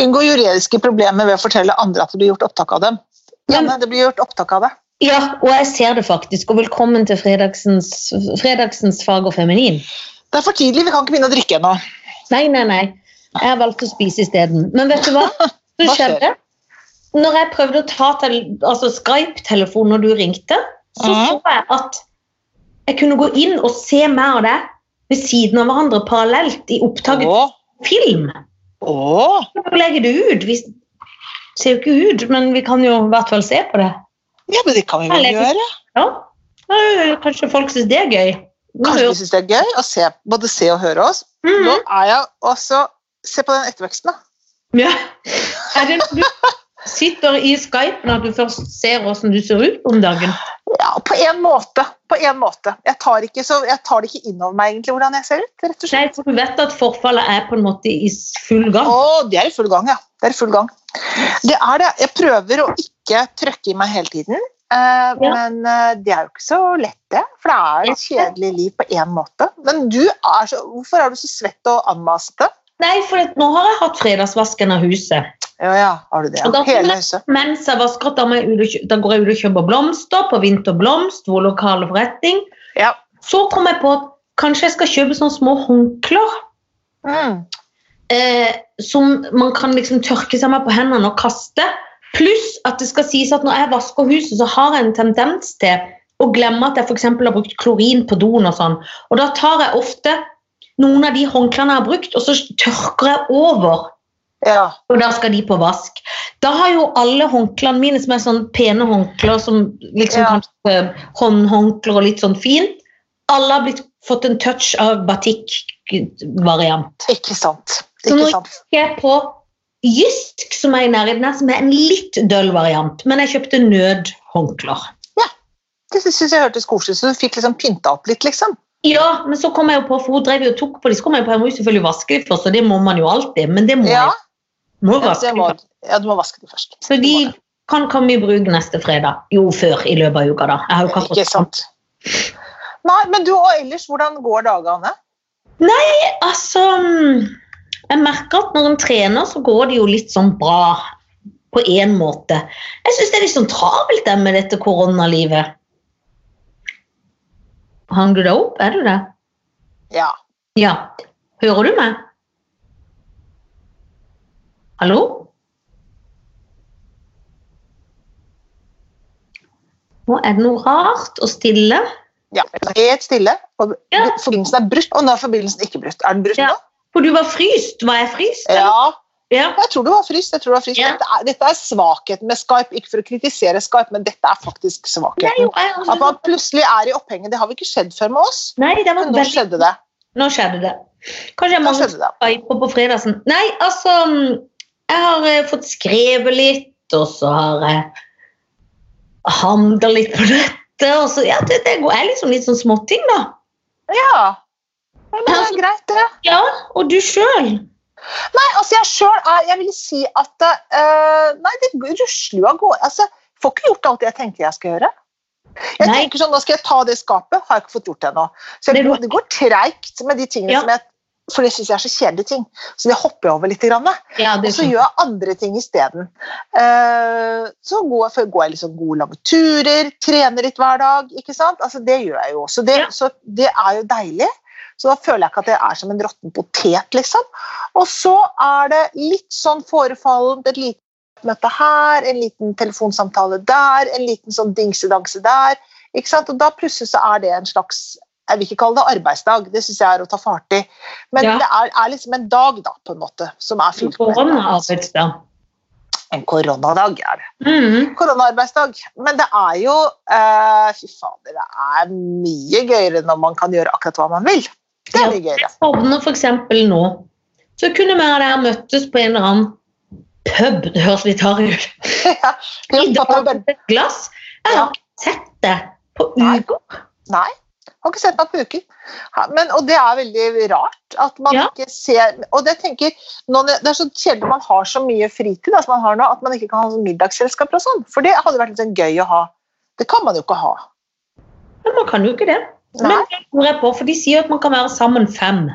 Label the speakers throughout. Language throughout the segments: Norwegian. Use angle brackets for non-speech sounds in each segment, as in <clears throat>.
Speaker 1: Unngå juridiske problemer ved å fortelle andre at det blir gjort opptak av dem. Janne, det blir gjort opptak av det.
Speaker 2: Ja, og jeg ser det faktisk. Og velkommen til fredagsens, fredagsens fag og feminin.
Speaker 1: Det er for tidlig, vi kan ikke begynne å drikke ennå.
Speaker 2: Nei, nei, nei. Jeg har valgt å spise isteden. Men vet du
Speaker 1: <laughs>
Speaker 2: hva? Det
Speaker 1: Hva skjer?
Speaker 2: skjedde. Når jeg prøvde å ta tel- altså Skype-telefonen når du ringte, så
Speaker 1: Mhm.
Speaker 2: så jeg at jeg kunne gå inn og se meg og deg ved siden av hverandre parallelt i opptaket
Speaker 1: Å,
Speaker 2: film.
Speaker 1: å,
Speaker 2: Hvordan legger det ut? Vi ser jo ikke ut, men vi kan jo i hvert fall se på det.
Speaker 1: ja, men det kan vi vel
Speaker 2: Eller-
Speaker 1: gjøre.
Speaker 2: Ja. Eh, Kanskje folk syns det er gøy. Mm.
Speaker 1: Kanskje de syns det er gøy å se, både se og høre oss. Nå
Speaker 2: Mhm.
Speaker 1: er jeg også Se på den etterveksten, da.
Speaker 2: Ja. Er det når du sitter i Skypen at du først ser hvordan du ser ut om dagen?
Speaker 1: Ja, på en måte. På en måte. Jeg tar, ikke, så, jeg tar det ikke inn over meg egentlig hvordan jeg ser ut. rett og slett.
Speaker 2: Nei, for du vet at forfallet er på en måte i s- full gang.
Speaker 1: Å, det er i full gang, ja. Det er i full gang. Det er det. Jeg prøver å ikke trøkke i meg hele tiden. eh,
Speaker 2: Ja.
Speaker 1: Men eh, det er jo ikke så lett, det. For det er et kjedelig liv på én måte. Men du er så Hvorfor er du så svett og anmasete?
Speaker 2: Nei, for at nå har jeg hatt fredagsvasken av huset.
Speaker 1: Ja, ja, har du det?
Speaker 2: Og
Speaker 1: Ja.
Speaker 2: da-
Speaker 1: Hele huset.
Speaker 2: Mens jeg vasker, da, må jeg ut og kjø- da går jeg ut og kjøper blomster på Vinterblomst, vår lokale forretning.
Speaker 1: Ja.
Speaker 2: Så kom jeg på at kanskje jeg skal kjøpe sånne små håndklær
Speaker 1: Mm.
Speaker 2: eh, som man kan liksom tørke seg med på hendene og kaste. Pluss at det skal sies at når jeg vasker huset, så har jeg en tendens til å glemme at jeg for eksempel har brukt klorin på doen og sånn. Og da tar jeg ofte noen av de håndklærne jeg har brukt, og så tørker jeg over.
Speaker 1: Ja.
Speaker 2: Og da skal de på vask. Da har jo alle håndklærne mine, som er sånn pene håndklær, som liksom
Speaker 1: Ja.
Speaker 2: kanskje eh, håndhåndklær og litt sånn fint, alle har blitt, fått en touch av batikk-variant
Speaker 1: Ikke sant.
Speaker 2: Så nå-
Speaker 1: Ikke sant.
Speaker 2: jeg på Jysk, som er i nærheten her, som er en litt døll variant. Men jeg kjøpte nødhåndklær.
Speaker 1: Det syns jeg hørtes koselig ut, så du fikk liksom pynta opp litt, liksom.
Speaker 2: Ja, men så kom jeg jo på, for hun drev jo og tok på de, så kom jeg på, jeg må jo selvfølgelig vaske de først, og det må man jo alltid, men det må
Speaker 1: Ja,
Speaker 2: jeg.
Speaker 1: ja,
Speaker 2: Må Mm. vaske
Speaker 1: så jeg
Speaker 2: de
Speaker 1: må,
Speaker 2: først.
Speaker 1: ja du må vaske det først.
Speaker 2: Så de kan komme i bruk neste fredag. Jo, før i løpet av uka da. Jeg har jo
Speaker 1: Ikke
Speaker 2: akkurat-
Speaker 1: sant. Nei, men du og ellers, hvordan går dagene?
Speaker 2: Altså, jeg merker at når en trener, så går det jo litt sånn bra, på en måte. Jeg synes det er litt sånn travelt det med dette koronalivet. Hang du deg opp, er du det?
Speaker 1: Ja.
Speaker 2: Ja. Hører du meg? Hallo? Nå er det noe rart og stille.
Speaker 1: Ja, Helt stille. og
Speaker 2: Ja.
Speaker 1: Forbindelsen er brutt, og nå er forbindelsen ikke brutt. Er den brutt
Speaker 2: Ja.
Speaker 1: nå?
Speaker 2: For du var fryst. Var jeg fryst? eller?
Speaker 1: Ja.
Speaker 2: ja.
Speaker 1: Jeg tror du var fryst. Jeg tror du var fryst.
Speaker 2: Ja.
Speaker 1: Dette, er, dette er svakheten med Skype. Ikke for å kritisere Skype, men dette er faktisk
Speaker 2: Nei,
Speaker 1: svakheten.
Speaker 2: jeg-
Speaker 1: At man plutselig er i opphenget, det har vi ikke skjedd før med oss.
Speaker 2: Nei, det var
Speaker 1: Men nå
Speaker 2: veldig
Speaker 1: skjedde det.
Speaker 2: Nå skjedde det. Kanskje jeg
Speaker 1: Nå
Speaker 2: mange
Speaker 1: skjedde det.
Speaker 2: skyper på fredagsen. Nei, altså mm, Jeg har eh, fått skrevet litt, og så har jeg handla litt på nettet. Og så, ja, det, det går- er liksom litt sånn småting, da.
Speaker 1: Ja. Men det er greit, det.
Speaker 2: Ja, Og du sjøl?
Speaker 1: Nei, altså jeg selv er Jeg vil si at eh, Nei, det rusler jo av gårde. Altså, jeg får ikke gjort alt jeg tenker jeg skal gjøre. Jeg
Speaker 2: Nei.
Speaker 1: tenker sånn, Nå skal jeg ta det skapet. Har jeg ikke fått gjort det ennå. Så
Speaker 2: Det
Speaker 1: jeg,
Speaker 2: er du-
Speaker 1: det går treigt med de tingene
Speaker 2: Ja.
Speaker 1: som jeg For det syns jeg er så kjedelige ting. Så det hopper jeg over litt. Grann, da.
Speaker 2: Ja,
Speaker 1: og så gjør jeg andre ting isteden. Uh, så går jeg, går jeg liksom gode, lange turer, trener litt hver dag. ikke sant? Altså, Det gjør jeg jo. Så det,
Speaker 2: Ja.
Speaker 1: så det er jo deilig. Så da føler jeg ikke at jeg er som en råtten potet, liksom. Og så er det litt sånn forefallent et lite møte her, en liten telefonsamtale der, en liten sånn dingsedangse der. ikke sant? Og da plutselig så er det en slags jeg vil ikke kalle det arbeidsdag, det syns jeg er å ta fart i. Men
Speaker 2: Ja.
Speaker 1: det er, er liksom en dag, da, på en måte, som er fylt med
Speaker 2: Koronaarbeidsdag.
Speaker 1: en koronadag er det.
Speaker 2: Mm.
Speaker 1: Koronaarbeidsdag. Men det er jo eh, Fy fader, det er mye gøyere når man kan gjøre akkurat hva man vil. Det
Speaker 2: Ja.
Speaker 1: er mye gøyere. <laughs>
Speaker 2: Sovner f.eks. nå. Så kunne vi og dere møttes på en eller annen pub. Det høres litt hardt ut. I dag
Speaker 1: Pappa Bønn-
Speaker 2: et glass. Jeg
Speaker 1: Ja.
Speaker 2: har ikke sett det på
Speaker 1: Nei.
Speaker 2: uker.
Speaker 1: Nei, jeg har ikke sett meg på uker. Ja, Men, og det er veldig rart at man
Speaker 2: Ja.
Speaker 1: ikke ser Og det, jeg tenker, nå, det er så kjedelig når man har så mye fritid da, som man har nå, at man ikke kan ha sånn middagsselskaper og sånn. For det hadde vært litt sånn gøy å ha. Det kan man jo ikke ha.
Speaker 2: Men man kan jo ikke det.
Speaker 1: Nei.
Speaker 2: Men det tror jeg på, for de sier at man kan være sammen fem.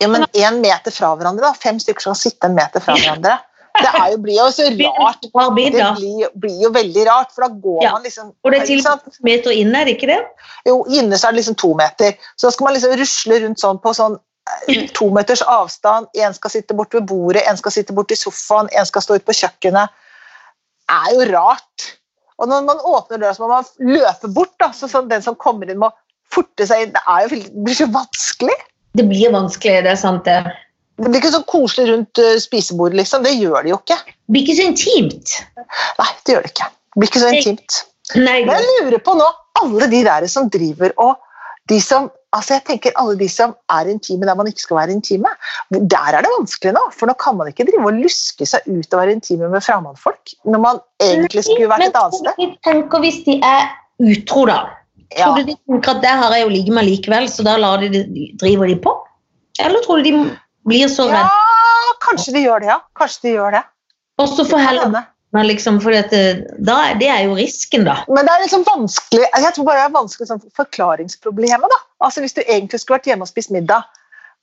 Speaker 1: Ja, men én meter fra hverandre, da. Fem stykker skal sitte en meter fra hverandre. Det er jo, blir jo
Speaker 2: <laughs>
Speaker 1: så rart.
Speaker 2: Par
Speaker 1: Det
Speaker 2: middag.
Speaker 1: blir, blir jo veldig rart, for da går
Speaker 2: Ja.
Speaker 1: man liksom
Speaker 2: Og det er til
Speaker 1: ikke sant?
Speaker 2: og med meter inne, er det ikke det?
Speaker 1: Jo, inne så er det liksom to meter. Så da skal man liksom rusle rundt sånn på sånn eh,
Speaker 2: Mm.
Speaker 1: to meters avstand. En skal sitte borte ved bordet, en skal sitte borte i sofaen, en skal stå ute på kjøkkenet. Det er jo rart. Og når man åpner døra, så må man løpe bort. da, så sånn, Den som kommer inn, må forte seg inn. Det er jo, det blir så vanskelig.
Speaker 2: Det blir vanskelig, det er sant det.
Speaker 1: Det blir ikke så koselig rundt eh, spisebordet, liksom. Det gjør det jo ikke.
Speaker 2: Det blir ikke så intimt.
Speaker 1: Nei, det gjør det ikke. Det blir ikke så intimt.
Speaker 2: Nei,
Speaker 1: Men jeg lurer på nå, alle de der som driver og de som Altså jeg tenker alle de som er intime der man ikke skal være intime. Der er det vanskelig nå, for nå kan man ikke drive og luske seg ut og være intime med fremmedfolk når man egentlig skulle vært et annet sted.
Speaker 2: Men tenker hvis de er utro, da.
Speaker 1: Ja.
Speaker 2: Tror du de tenker at det her er jo like meg likevel, så da lar de, de- driver de på? Eller tror du de blir så redde?
Speaker 1: ja, kanskje de gjør det, ja. Kanskje de gjør det.
Speaker 2: Og så får heller
Speaker 1: Henne.
Speaker 2: man liksom, fordi at det, da, er- det er jo risken, da.
Speaker 1: Men det er liksom vanskelig jeg tror bare det er vanskelig sånn forklaringsproblemet. da. Altså Hvis du egentlig skulle vært hjemme og spist middag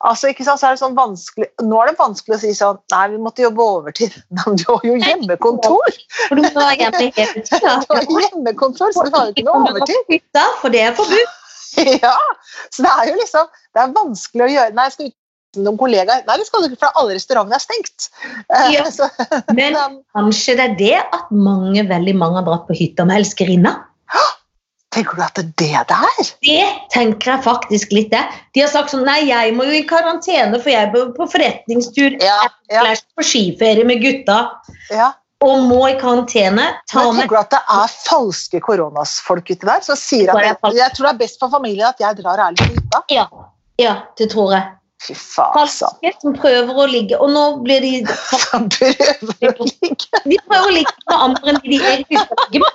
Speaker 1: altså ikke sant, så er det sånn vanskelig, Nå er det vanskelig å si sånn Nei, vi måtte jobbe overtid. <laughs> Men du har jo hjemmekontor!
Speaker 2: For du må være hjemme
Speaker 1: <laughs>
Speaker 2: hele tida.
Speaker 1: Du har jo hjemmekontor, så du har jo ikke noe overtid. <laughs>
Speaker 2: For det er forbudt.
Speaker 1: Ja, Så det er jo liksom Det er vanskelig å gjøre Nei, jeg skal ut med noen kollegaer. Nei, det skal du ikke, for alle restaurantene er stengt. Eh,
Speaker 2: Ja.
Speaker 1: <laughs> Så,
Speaker 2: Men
Speaker 1: men,
Speaker 2: kanskje det er det at mange, veldig mange har dratt på hytta med elskerinna.
Speaker 1: tenker du at det er det det er?
Speaker 2: Det tenker jeg faktisk litt det. De har sagt sånn Nei, jeg må jo i karantene, for jeg bør på forretningstur.
Speaker 1: Ja, ja,
Speaker 2: Eller på skiferie med gutta.
Speaker 1: ja.
Speaker 2: Og må i karantene. Ta
Speaker 1: Men
Speaker 2: med
Speaker 1: tenker du at det er falske koronasfolk uti der som sier at
Speaker 2: Bare
Speaker 1: jeg,
Speaker 2: falsk.
Speaker 1: jeg tror det er best for familien at jeg drar ærlig til hytta?
Speaker 2: Ja, ja det tror jeg.
Speaker 1: Fy faen, sann.
Speaker 2: Falske som prøver å ligge Og nå blir de
Speaker 1: Han prøver å ligge.
Speaker 2: De prøver å ligge med andre enn de de egentlig skal ligge med.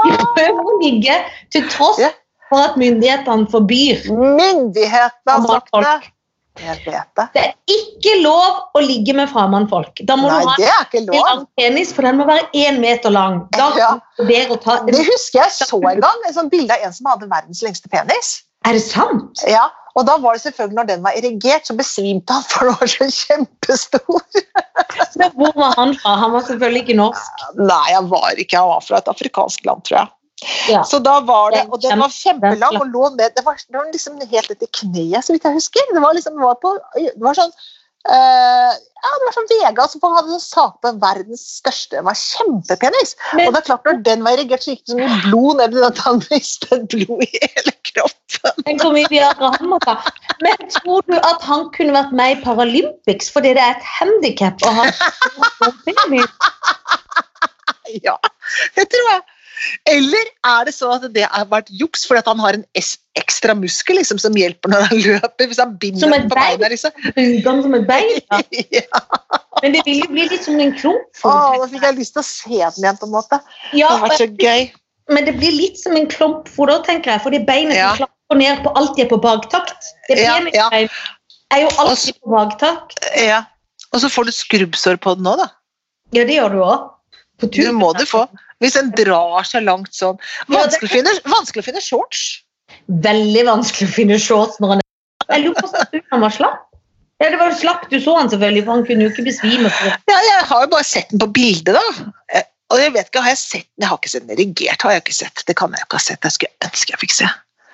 Speaker 2: De prøver å ligge til tross
Speaker 1: Ja.
Speaker 2: for at myndighetene forbyr.
Speaker 1: Myndighetene har
Speaker 2: Han var
Speaker 1: sagt det. Jeg vet det.
Speaker 2: Det er ikke lov å ligge med fremmedfolk. Da må
Speaker 1: Nei,
Speaker 2: du ha
Speaker 1: det er ikke
Speaker 2: en
Speaker 1: lov.
Speaker 2: lang penis, for den må være én meter lang. Da
Speaker 1: Ja.
Speaker 2: er det bedre å ta
Speaker 1: Det husker jeg så en gang, et sånt bilde av en som hadde verdens lengste penis.
Speaker 2: Er det sant?
Speaker 1: Ja, og da var det selvfølgelig når den var erigert, så besvimte han, for den var så kjempestor.
Speaker 2: Men hvor var han fra? Han var selvfølgelig ikke norsk.
Speaker 1: Nei, han var ikke, han var fra et afrikansk land, tror jeg.
Speaker 2: Ja.
Speaker 1: Så da var det, og den var kjempelang
Speaker 2: Den
Speaker 1: og lå ned, det var, det var liksom helt etter kneet, så vidt jeg husker. Det var liksom, det var på, det var sånn, eh, ja, det var sånn Vega, som hadde sånn sape verdens største, den var kjempepenis. Og
Speaker 2: Men
Speaker 1: det er klart, når den var erigert, så gikk det så mye blod ned i den at han mistet blod i hele kroppen.
Speaker 2: tenk hvor mye Viagra han må ta. Men tror du at han kunne vært med i Paralympics fordi det er et handikap å ha stor penis?
Speaker 1: <laughs> Ja, det tror jeg. Eller er det sånn at det har vært juks fordi at han har en es- ekstra muskel liksom, som hjelper når han <laughs> løper? Hvis han binder
Speaker 2: Som
Speaker 1: den
Speaker 2: et
Speaker 1: på
Speaker 2: bein?
Speaker 1: beina, <laughs> liksom.
Speaker 2: Bruker han som et bein? da.
Speaker 1: Ja.
Speaker 2: Men det vil jo bli litt som en
Speaker 1: Å,
Speaker 2: klumpfot.
Speaker 1: nå fikk jeg lyst til å se den igjen, på en måte. Det
Speaker 2: Ja,
Speaker 1: har vært så gøy.
Speaker 2: men det blir litt som en klumpfot òg, tenker jeg. Fordi beinet
Speaker 1: Ja.
Speaker 2: som klapper ned på alt de er på baktakt. Det
Speaker 1: Ja,
Speaker 2: penisbein
Speaker 1: ja.
Speaker 2: er jo
Speaker 1: Og s-
Speaker 2: alltid på baktakt.
Speaker 1: Ja. Og så får du skrubbsår på den òg, da.
Speaker 2: Ja, det gjør du òg. På
Speaker 1: Du
Speaker 2: turen.
Speaker 1: må du få. Hvis en drar seg langt sånn.
Speaker 2: Ja, det-
Speaker 1: Vanskelig å finne, vanskelig å finne shorts.
Speaker 2: Veldig vanskelig å finne shorts når han er Jeg lurer på om han var slapp. Ja, det var jo slapp du så han selvfølgelig, for han kunne jo ikke besvime. For
Speaker 1: Ja, jeg har jo bare sett den på bildet, da. Eh, Og jeg vet ikke, har jeg sett den? Jeg har ikke sett den erigert. har jeg ikke sett. Det kan jeg jo ikke ha sett. Jeg skulle ønske jeg fikk se.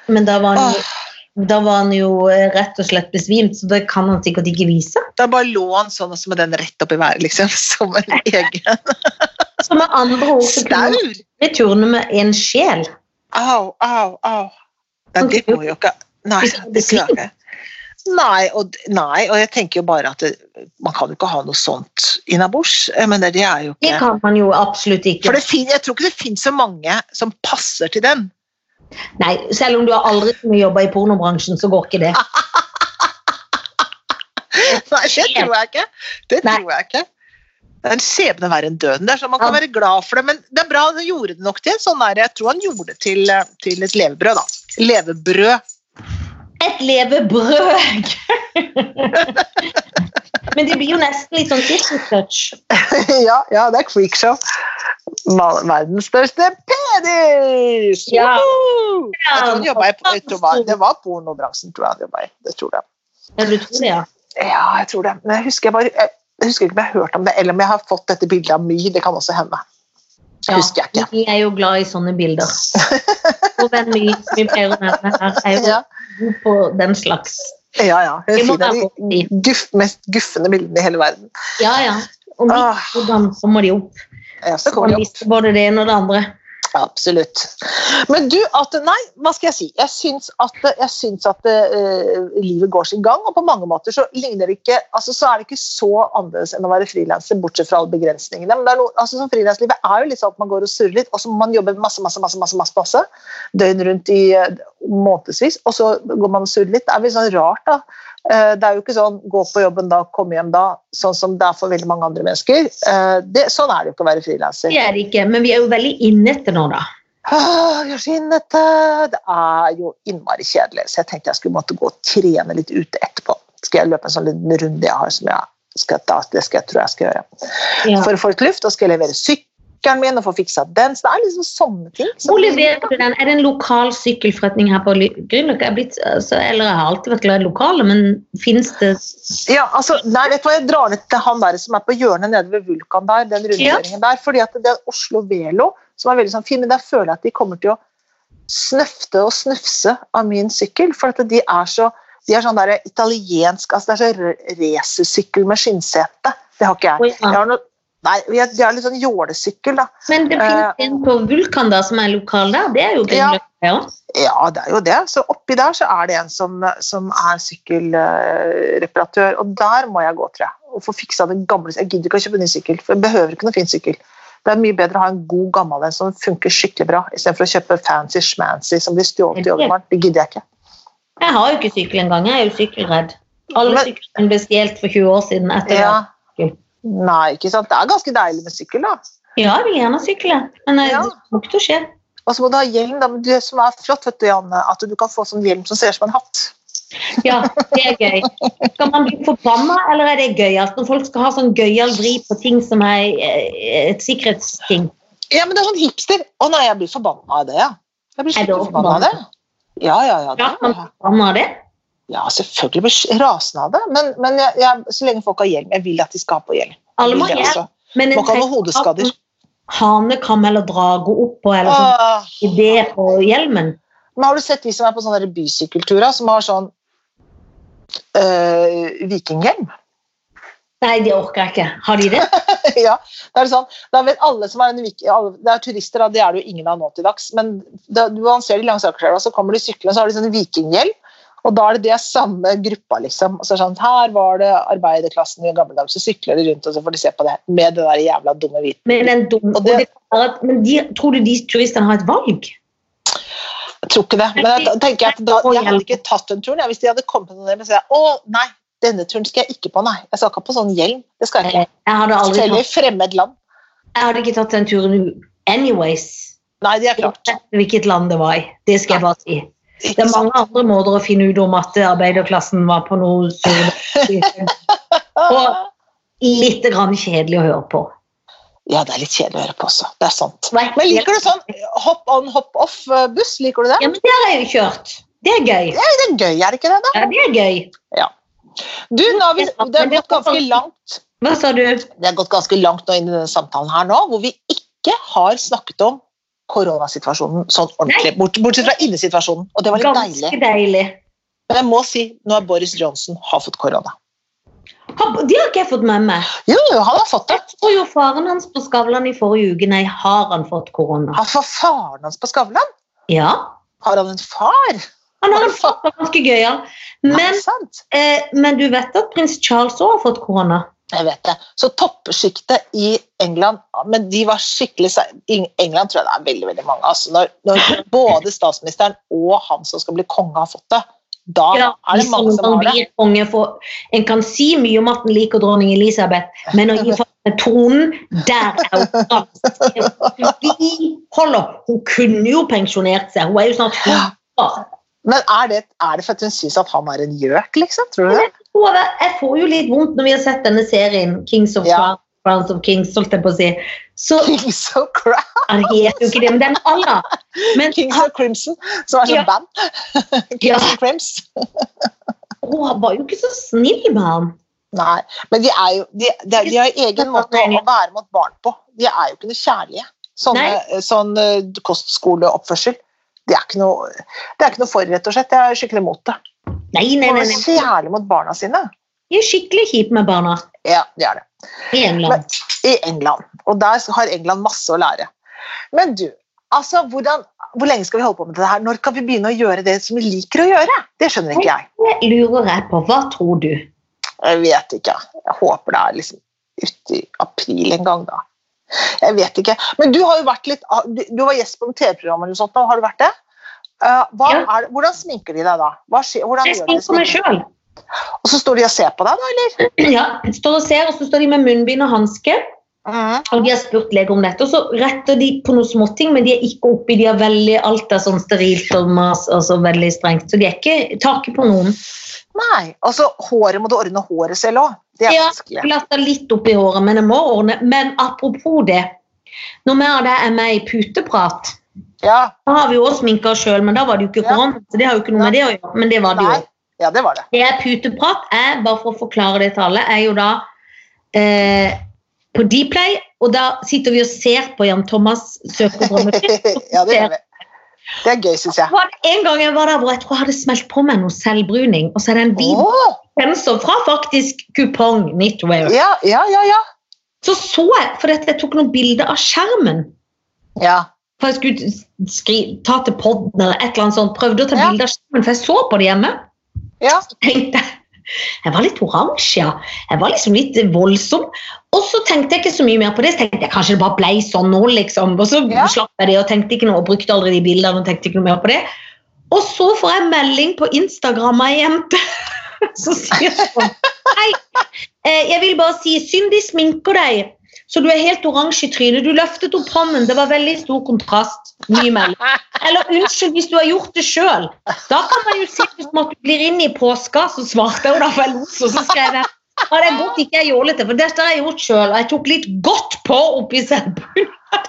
Speaker 2: Men da var, han jo,
Speaker 1: Åh.
Speaker 2: da var han jo eh, rett og slett besvimt, så det kan han sikkert ikke vise.
Speaker 1: Da bare lå han sånn og så med den rett opp i været, liksom. <laughs> Som en egen
Speaker 2: Så med andre ord så kunne han
Speaker 1: staur.
Speaker 2: aldri turne med en sjel.
Speaker 1: Au, au, au. Nei, det går jo ikke. Nei, det klarer jeg. Nei og, nei, og jeg tenker jo bare at det, man kan jo ikke ha noe sånt innabords. Jeg mener, det er jo
Speaker 2: Det
Speaker 1: ikke
Speaker 2: kan man jo absolutt
Speaker 1: For
Speaker 2: ikke.
Speaker 1: det fin, jeg tror ikke det finnes så mange som passer til den.
Speaker 2: Nei, selv om du har aldri kunnet jobbe i pornobransjen, så går ikke det.
Speaker 1: Ah. Nei, det tror jeg ikke. Det
Speaker 2: Nei.
Speaker 1: tror jeg ikke. Det er en skjebne verre enn døden. Det er sånn, Man kan
Speaker 2: Ja.
Speaker 1: være glad for det, men det er bra han gjorde det nok til en sånn der, Jeg tror han gjorde det til, eh, til et levebrød, da. Levebrød.
Speaker 2: Et levebrød! <laughs> Men det blir jo nesten litt sånn kitchen touch.
Speaker 1: <laughs> ja, ja, det er freakshow. Ma- Verdens største penis!
Speaker 2: Ja.
Speaker 1: Woohoo! Jeg tror han
Speaker 2: Ja.
Speaker 1: jobbet i, jeg tror det var- det var pornobransjen, tror jeg han jobba i. Det tror jeg.
Speaker 2: Ja, du tror det, ja.
Speaker 1: Ja, jeg tror det. Men jeg husker, jeg, var, jeg husker ikke om jeg har hørt om det, eller om jeg har fått dette bildet av My. Det kan også hende.
Speaker 2: Ja,
Speaker 1: Husker jeg ikke.
Speaker 2: Vi er jo glad i
Speaker 1: <laughs>
Speaker 2: sånne bilder. Og venn min, som vi pleier å nevne her, er jo
Speaker 1: Ja,
Speaker 2: god på den slags.
Speaker 1: ja. ja. Hun
Speaker 2: Vi må
Speaker 1: er fin.
Speaker 2: være
Speaker 1: Det er de guff, mest guffende bildene i hele verden.
Speaker 2: Ja, ja. Og vi
Speaker 1: Åh.
Speaker 2: hvordan kommer de opp.
Speaker 1: Ja, Ah. så
Speaker 2: Så
Speaker 1: kommer
Speaker 2: kan
Speaker 1: de opp.
Speaker 2: vise både det ene og det andre.
Speaker 1: Absolutt. Men du, at Nei, hva skal jeg si? Jeg syns at, jeg syns at eh, livet går sin gang, og på mange måter så ligner det ikke altså Så er det ikke så annerledes enn å være frilanser, bortsett fra alle begrensningene. Men det er noe, altså som frilanslivet er jo litt sånn at man går og surrer litt, og så må man jobbe masse, masse, masse, masse, masse, masse døgn rundt i eh, månedsvis, og så går man og surrer litt. Det er veldig sånn rart, da. Eh, Det er jo ikke sånn gå på jobben da, komme hjem da, sånn som det er for veldig mange andre mennesker. Eh, Det, sånn er det jo ikke å være frilanser.
Speaker 2: Det er det ikke, men vi er jo veldig innete nå, da.
Speaker 1: Åh, Josefin, dette Det er jo innmari kjedelig, så jeg tenkte jeg skulle måtte gå og trene litt ute etterpå. Skal jeg løpe en sånn liten runde jeg har som jeg skal ta, det skal jeg tror jeg skal gjøre.
Speaker 2: Ja.
Speaker 1: For å få litt luft, og skal jeg levere sykkelen min og få fiksa den. Så det er liksom sånne ting. som-
Speaker 2: Hvor leverer du den? Er det en lokal sykkelforretning her på Ly- Grünerløkka? Jeg er blitt, altså, eller jeg har alltid vært glad i lokale, men fins det
Speaker 1: Ja, altså, nei, vet du hva, Jeg drar ned til han der som er på hjørnet nede ved Vulkan der. den rundkjøringen der, fordi at det er Oslo Velo som er veldig sånn fin, men der føler jeg at de kommer til å snøfte og snufse av min sykkel. For at de er så de er sånn der italiensk altså Det er så r- racersykkel med skinnsete. Det har ikke jeg.
Speaker 2: Oi, ja.
Speaker 1: jeg har noe, nei, jeg- De har litt sånn jålesykkel, da.
Speaker 2: Men det
Speaker 1: Eh.
Speaker 2: finnes en på Vulkan da, som er lokal der. Det er jo Grünerløkka. Ja.
Speaker 1: Ja, det er jo det. Så oppi der så er det en som, som er sykkelreparatør, og der må jeg gå, tror jeg. Og få fiksa den gamle Jeg gidder ikke å kjøpe ny sykkel, for jeg behøver ikke noen fin sykkel. Det er mye bedre å ha en god, gammel en som funker skikkelig bra, istedenfor å kjøpe fancy schmancy som blir stjålet i overmorgen. Det gidder jeg ikke.
Speaker 2: Jeg har jo ikke sykkel engang. Jeg er jo sykkelredd. Alle
Speaker 1: Men-
Speaker 2: syklene ble stjålet for 20 år siden. etter
Speaker 1: Ja.
Speaker 2: det.
Speaker 1: Nei, ikke sant. Det er ganske deilig med sykkel, da.
Speaker 2: Ja, jeg vil gjerne sykle, men eh,
Speaker 1: Ja.
Speaker 2: det kommer ikke til å skje.
Speaker 1: Og så må du ha hjelm, da. Men det som er flott, vet du, Janne, at du kan få sånn hjelm som ser ut som en hatt.
Speaker 2: Ja, det er gøy. Skal man bli forbanna, eller er det gøyalt når folk skal ha sånn gøyal vri på ting som er eh, et sikkerhetsting?
Speaker 1: Ja, men det er sånn hipster. Å nei, jeg blir forbanna av det, ja. Jeg blir
Speaker 2: Er det
Speaker 1: skikkelig forbanna av det. Ja, ja, ja.
Speaker 2: Ja,
Speaker 1: Det
Speaker 2: man
Speaker 1: er.
Speaker 2: blir forbanna av det?
Speaker 1: Ja, selvfølgelig blir jeg rasende av det, men, men jeg, jeg, så lenge folk har hjelm Jeg vil at de skal ha på hjelm.
Speaker 2: Alle må
Speaker 1: Jeg vil det,
Speaker 2: gjøre
Speaker 1: altså.
Speaker 2: men en
Speaker 1: Må ikke ha noen
Speaker 2: trenger
Speaker 1: hodeskader.
Speaker 2: Hanekam eller drage oppå eller sånn
Speaker 1: Åh,
Speaker 2: idé på hjelmen.
Speaker 1: Men har du sett de som er på sånne der bysykkelturer, som har sånn øh, vikinghjelm?
Speaker 2: Nei, det orker jeg ikke. Har de det?
Speaker 1: <laughs> ja, det er sånn. Da vet alle som er, en vik- alle, det er turister, da, det er det jo ingen av nå til dags, men da, du man ser de langs Akerselva, så kommer de syklende, så har de sånn vikinghjelm. Og da er det det samme gruppa, liksom. Og så er det sånn, her var det arbeiderklassen i gamle dager, så sykler de rundt, og så får de se på det med det der jævla dumme hvite.
Speaker 2: Men, den dum,
Speaker 1: Og
Speaker 2: og
Speaker 1: det-
Speaker 2: det, er at- men de, tror du de turistene har et valg?
Speaker 1: Jeg tror ikke det. Men jeg da tenker jeg at da, jeg hadde ikke tatt den turen. Jeg, hvis de hadde kommet med noe, så jeg, å nei, denne turen skal jeg ikke på, nei. Jeg skal ikke på sånn hjelm. Det skal jeg ikke.
Speaker 2: Eh, Jeg hadde aldri
Speaker 1: Selv
Speaker 2: tatt
Speaker 1: i fremmed land.
Speaker 2: Jeg hadde ikke tatt den turen u- anyways.
Speaker 1: Nei, det er klart.
Speaker 2: Uansett Hvilket land det var i. Det skal jeg bare si. Det
Speaker 1: Ikke sånn.
Speaker 2: er
Speaker 1: sant?
Speaker 2: mange andre måter å finne ut om at arbeiderklassen var på noe
Speaker 1: <laughs>
Speaker 2: sur.
Speaker 1: Ah,
Speaker 2: Litt grann kjedelig å høre på.
Speaker 1: Ja, det er litt kjedelig å høre på også. Det er sant.
Speaker 2: Nei,
Speaker 1: Men liker du sånn hopp on, hopp off-buss? Liker du det?
Speaker 2: Ja, men der har jeg jo kjørt. Det er gøy.
Speaker 1: Det er gøy, er det ikke det? da?
Speaker 2: Ja, det er gøy.
Speaker 1: Du, nå har vi, Det har gått ganske langt
Speaker 2: Hva sa du?
Speaker 1: det har gått ganske langt nå inn i denne samtalen her nå, hvor vi ikke har snakket om koronasituasjonen sånn ordentlig. Bort, bortsett fra innesituasjonen. Og det var litt deilig.
Speaker 2: Ganske deilig.
Speaker 1: Men jeg må si, nå har Boris Johnson har fått korona.
Speaker 2: Har- Det har ikke jeg fått med meg.
Speaker 1: Jo, jo, han har fått det.
Speaker 2: Jeg tror jo faren hans på Skavlan i forrige uke. Nei, har han fått korona?
Speaker 1: Han får faren hans på Skavlan.
Speaker 2: Ja.
Speaker 1: Har han en far?
Speaker 2: Han har fått det ganske gøyal.
Speaker 1: er
Speaker 2: Men,
Speaker 1: det sant?
Speaker 2: eh, men du vet at prins Charles òg har fått korona?
Speaker 1: Jeg vet det. Så toppsjiktet i England ja, Men de var skikkelig se- I England tror jeg det er veldig veldig mange. Altså, når, når både statsministeren og han som skal bli konge, har fått det, da
Speaker 2: Ja,
Speaker 1: er det mange som har det.
Speaker 2: blir konge for, en kan si mye om at en liker dronning Elisabeth, men
Speaker 1: <laughs>
Speaker 2: å gi faen tonen, der er hun ganske Vi holder. Hun kunne jo pensjonert seg, hun er jo snart 100.
Speaker 1: Men er det, er det for at hun syns at han er en gjøk, liksom? Tror du det?
Speaker 2: Hun er- Jeg får jo litt vondt når vi har sett denne serien, Kings of
Speaker 1: Ja.
Speaker 2: Crown- Crowns of Kings, holdt jeg på å si. Så
Speaker 1: Kings of, <laughs> Cra-
Speaker 2: han heter jo ikke det, men den aller. Men
Speaker 1: Kings
Speaker 2: han,
Speaker 1: of Crimson, som er sånn
Speaker 2: Ja.
Speaker 1: band.
Speaker 2: ja,
Speaker 1: Crimson.
Speaker 2: Hun var jo ikke så snill med han.
Speaker 1: Nei. Men de, er jo, de, de, de har jo egen måte å være mot barn på. De er jo ikke noe kjærlige. Sånne, sånn eh, kostskoleoppførsel. Det er, ikke noe, det er ikke noe for, rett og slett. Jeg er skikkelig mot det.
Speaker 2: Nei, nei,
Speaker 1: Man
Speaker 2: nei.
Speaker 1: er
Speaker 2: nei.
Speaker 1: kjærlig mot barna sine.
Speaker 2: De er skikkelig kjipe med barna
Speaker 1: Ja, det er det.
Speaker 2: i England.
Speaker 1: i England. Og der har England masse å lære. Men du, altså, hvordan, hvor lenge skal vi holde på med det her? Når kan vi begynne å gjøre det som vi liker å gjøre? Det skjønner ikke jeg.
Speaker 2: Det lurer jeg på. Hva tror du?
Speaker 1: Jeg vet ikke. Jeg håper det er liksom uti april en gang, da. Jeg vet ikke. Men du har jo vært litt ah, du- Du var gjest på noe TV-program eller noe sånt, nå, har du vært det? Eh, hva
Speaker 2: Ja.
Speaker 1: er, det- hvordan sminker de deg da? Hva skjer, hvordan
Speaker 2: Jeg
Speaker 1: gjør de
Speaker 2: sminker meg
Speaker 1: sminking?
Speaker 2: sjøl.
Speaker 1: Og så står de og ser på deg, da? Eller?
Speaker 2: <clears throat> Ja, står og ser, og så står de med munnbind og hanske.
Speaker 1: Mhm.
Speaker 2: Og de har spurt leger om dette, og så retter de på noen småting, men de er ikke oppi, de er veldig, alt er sånn sterilt og mas, altså veldig strengt, så de er ikke taket på noen.
Speaker 1: Nei. Og så håret må du ordne håret selv òg. Det er
Speaker 2: Ja.
Speaker 1: vanskelig.
Speaker 2: Glatter litt oppi håret, men jeg må ordne. Men apropos det, noe mer av det er med i puteprat.
Speaker 1: Ja.
Speaker 2: Da har vi jo også sminket oss selv, men da var det jo ikke
Speaker 1: Ja.
Speaker 2: korona, så det har jo ikke noe med det å gjøre, men det var det jo.
Speaker 1: Nei. ja, det var det. <laughs>
Speaker 2: Det er puteprat, er, bare for å forklare det til alle, er jo da eh, på Dplay, og da sitter vi og ser på Jan Thomas søker
Speaker 1: <laughs>
Speaker 2: drømmefritt.
Speaker 1: ja, det gjør vi. Det er gøy, syns jeg.
Speaker 2: var det en gang jeg var der hvor jeg tror jeg hadde smelt på meg noe selvbruning. Og så er det en hvit
Speaker 1: Åh,
Speaker 2: genser fra faktisk kupong knitwear.
Speaker 1: ja, ja, ja, ja.
Speaker 2: Så så jeg, for dette, jeg tok noen bilder av skjermen.
Speaker 1: ja.
Speaker 2: For jeg skulle skri, ta til podden eller et eller annet sånt. Prøvde å ta
Speaker 1: Ja.
Speaker 2: bilder av skjermen, for jeg så på det hjemme.
Speaker 1: Ja,
Speaker 2: tenkte jeg jeg var litt oransje, ja. Jeg var liksom litt voldsom. Og så tenkte jeg ikke så mye mer på det. Så tenkte jeg kanskje det bare ble sånn nå, liksom. Og så
Speaker 1: Ja.
Speaker 2: slapp jeg det og tenkte ikke noe, og brukte aldri de bildene og tenkte ikke noe mer på det. Og så får jeg melding på Instagram av ei jente <laughs> som sier sånn Hei, eh, jeg vil bare si synd de sminker deg, så du er helt oransje i trynet. Du løftet opp hånden, det var veldig stor kontrast. Ny melding. Eller unnskyld hvis du har gjort det sjøl. Da kan man jo si hvis man blir inn i påska, så svarte jeg jo da, for jeg lo så, så skrev jeg ja, det er godt ikke jeg er jålete, for dette har jeg gjort sjøl. Jeg tok litt godt på oppi selv.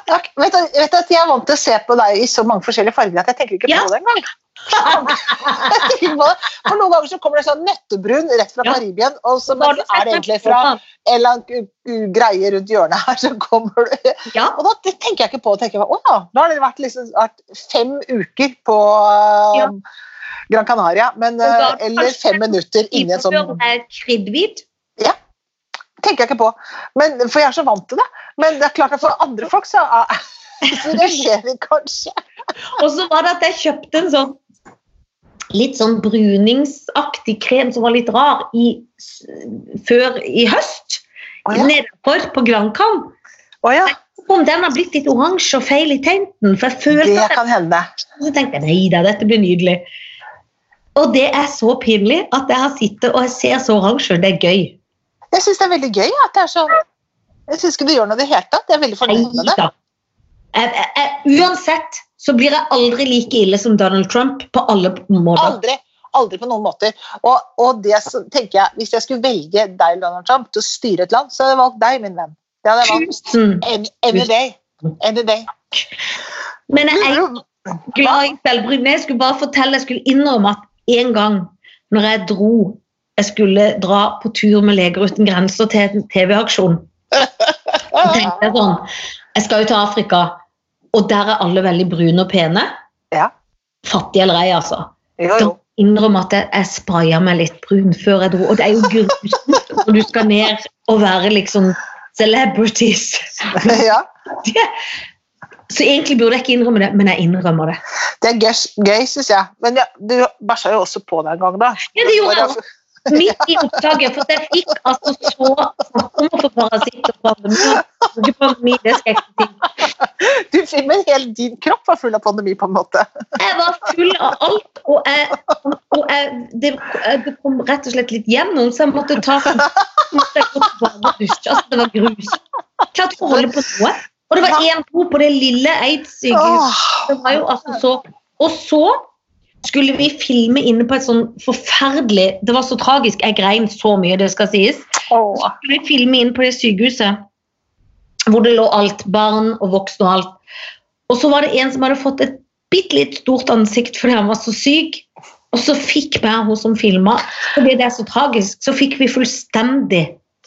Speaker 1: takk. Vet du, vet du at Jeg er vant til å se på deg i så mange forskjellige farger at jeg tenker ikke på
Speaker 2: Ja.
Speaker 1: det engang. <laughs> Jeg tenker ikke på det. For noen ganger så kommer det sånn nøttebrun rett fra
Speaker 2: Ja.
Speaker 1: Karibien, og så men så er det egentlig fra en eller annen u- u- greie rundt hjørnet her, så kommer du
Speaker 2: Ja,
Speaker 1: Og da det tenker jeg ikke på. tenker jeg, bare, Å ja, da har dere vært, liksom, vært fem uker på eh,
Speaker 2: Ja.
Speaker 1: Gran Canaria, men, eh,
Speaker 2: da-
Speaker 1: eller fem minutter inni en sånn
Speaker 2: Innfører er kridhvit.
Speaker 1: tenker jeg ikke på, men, for jeg er så vant til det. Men det er klart at for andre folk så, er, <laughs> så reagerer de kanskje.
Speaker 2: Og så var det at jeg kjøpte en sånn litt sånn bruningsaktig krem som var litt rar, i, s- før i høst.
Speaker 1: Å ja.
Speaker 2: Nedenfor på Grankan.
Speaker 1: Å ja,
Speaker 2: Om den har blitt litt oransje og feil i tenten. For jeg følte
Speaker 1: det
Speaker 2: at jeg,
Speaker 1: kan hende.
Speaker 2: så tenkte jeg nei da, dette blir nydelig. Og det er så pinlig at jeg har sittet og jeg ser så oransje. Det er gøy.
Speaker 1: Jeg syns det er veldig gøy. ja, at det er sånn, jeg syns ikke du gjør noe i det hele tatt. Jeg er veldig fornøyd med det.
Speaker 2: Neida. Jeg, jeg, jeg, uansett så blir jeg aldri like ille som Donald Trump på alle måter.
Speaker 1: Aldri. Aldri på noen måter. Og, og det som, tenker jeg, hvis jeg skulle velge deg Donald Trump, til å styre et land, så hadde jeg valgt deg, min venn. Det hadde jeg valgt.
Speaker 2: Tusen.
Speaker 1: Any, any day. Any day.
Speaker 2: Men jeg er
Speaker 1: Lurer du-
Speaker 2: glad i selvbrynet. Jeg skulle bare fortelle, jeg skulle innrømme at en gang når jeg dro jeg skulle dra på tur med Leger uten grenser til en TV-aksjon. Så tenkte Jeg sånn, jeg skal jo til Afrika, og der er alle veldig brune og pene.
Speaker 1: Ja.
Speaker 2: Fattige eller ei, altså.
Speaker 1: Jo, <laughs> jo.
Speaker 2: innrømme at jeg, jeg spraya meg litt brun før jeg dro. Og det er jo grusomt når du skal ned og være liksom celebrities.
Speaker 1: Ja.
Speaker 2: Så egentlig burde jeg ikke innrømme det, men jeg innrømmer det.
Speaker 1: Det er gøy, gøy syns jeg. Men ja, du bæsja jo også på deg en gang, da.
Speaker 2: Ja, det gjorde jeg. Midt i opptaket, for jeg fikk altså så snakk om å få parasitt og pandemi. Ikke pandemi, det skal jeg ikke si.
Speaker 1: <laughs> Du fikk- men hele din kropp var full av pandemi, på en måte.
Speaker 2: Jeg var full av alt, og, jeg, og jeg, det, det kom rett og slett litt gjennom, så jeg måtte ta måtte jeg gå til varmedusj. Altså, det var grus. Klart å holde på noe. Og det var én to på det lille Eidsykehuset.
Speaker 1: Åh,
Speaker 2: Det var jo altså så Og så skulle vi filme inne på et sånn forferdelig Det var så tragisk. Jeg grein så mye, det skal sies.
Speaker 1: åh.
Speaker 2: Skulle vi filme inn på det sykehuset hvor det lå alt. Barn og voksne og alt. Og så var det en som hadde fått et bitte litt stort ansikt fordi han var så syk. Og så fikk vi, hun som filma, fordi det er så tragisk, så fikk vi fullstendig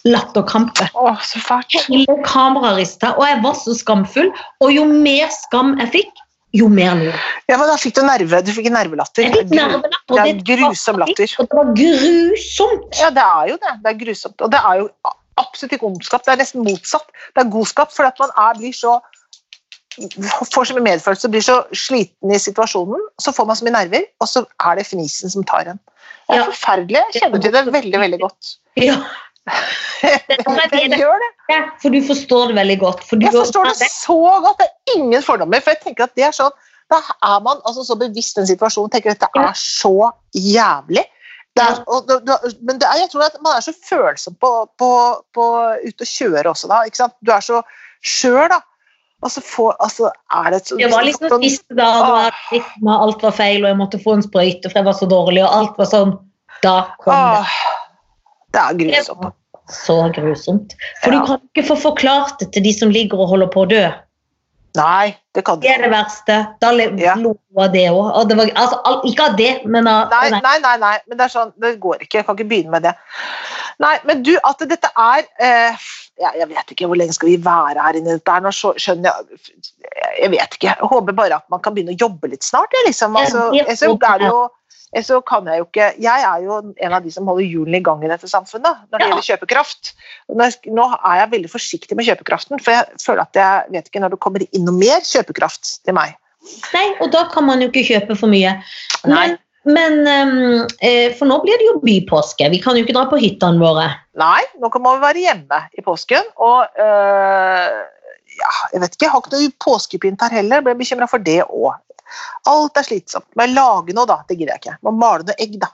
Speaker 2: latterkrampe.
Speaker 1: Å, så fælt.
Speaker 2: Hele kameraet rista, og jeg var så skamfull. Og jo mer skam jeg fikk, jo mer lo. jeg.
Speaker 1: Ja, men da fikk du nerve. Du fikk nervelatter.
Speaker 2: Jeg fikk nervene, og
Speaker 1: Det er en
Speaker 2: det
Speaker 1: grusom
Speaker 2: var-
Speaker 1: latter.
Speaker 2: Og det var grusomt.
Speaker 1: Ja, det er jo det. Det er grusomt. Og det er jo absolutt ikke ondskap. Det er nesten motsatt. Det er godskap, fordi at man er, blir så får så mye medfølelse og blir så sliten i situasjonen. Så får man så mye nerver, og så er det fnisen som tar en. Det er
Speaker 2: Ja.
Speaker 1: forferdelig. Jeg kjenner til det veldig, veldig godt. <laughs>
Speaker 2: Ja.
Speaker 1: Jeg gjør det.
Speaker 2: For du forstår det veldig godt. For du
Speaker 1: Jeg forstår det så godt. Det er ingen fordommer, for jeg tenker at det er sånn da er man altså så bevisst den situasjonen tenker at dette
Speaker 2: Ja.
Speaker 1: er så jævlig. Det er, og, du, du, men det er, jeg tror at man er så følsom på, på, på ute og kjøre også, da. Ikke sant? Du er så skjør, da. Og så får Altså, er det så
Speaker 2: Det var liksom
Speaker 1: sånn-
Speaker 2: siste da og da fikk meg alt var feil, og jeg måtte få en sprøyte, for jeg var så dårlig, og alt var sånn. Da kom
Speaker 1: Åh, Det er
Speaker 2: det. Det
Speaker 1: grusomt.
Speaker 2: var så grusomt. For
Speaker 1: Ja.
Speaker 2: du kan ikke få forklart det til de som ligger og holder på å dø.
Speaker 1: Nei, det kan du
Speaker 2: Det er det verste. Da le-
Speaker 1: Ja.
Speaker 2: lo jeg av det òg. Altså, al- ikke av det, men av
Speaker 1: Nei,
Speaker 2: nei.
Speaker 1: nei, nei, nei, men det er sånn, det går ikke. Jeg kan ikke begynne med det. Nei, men du, at dette er eh, jeg, jeg vet ikke hvor lenge skal vi være her inne i dette her. Nå skjø- skjønner jeg Jeg vet ikke. Jeg håper bare at man kan begynne å jobbe litt snart. Jeg, liksom.
Speaker 2: Ja,
Speaker 1: altså,
Speaker 2: det
Speaker 1: jeg, så,
Speaker 2: håper
Speaker 1: er det jo, jeg, så kan jeg jo ikke Jeg er jo en av de som holder hjulene i gang i dette samfunnet når det
Speaker 2: Ja.
Speaker 1: gjelder kjøpekraft. Og Når jeg, sk- nå er jeg veldig forsiktig med kjøpekraften, for jeg føler at jeg vet ikke når det kommer inn noe mer kjøpekraft til meg.
Speaker 2: nei, og da kan man jo ikke kjøpe for mye.
Speaker 1: Nei.
Speaker 2: Men, men ehm, eh, For nå blir det jo bypåske. Vi kan jo ikke dra på hyttene våre.
Speaker 1: Nei, nå kan man være hjemme i påsken. Og øh, ja, jeg vet ikke, jeg har ikke noe påskepynt her heller. Jeg ble bekymra for det òg. Alt er slitsomt. Men lage noe, da. Det gidder jeg ikke. Må male noe egg, da.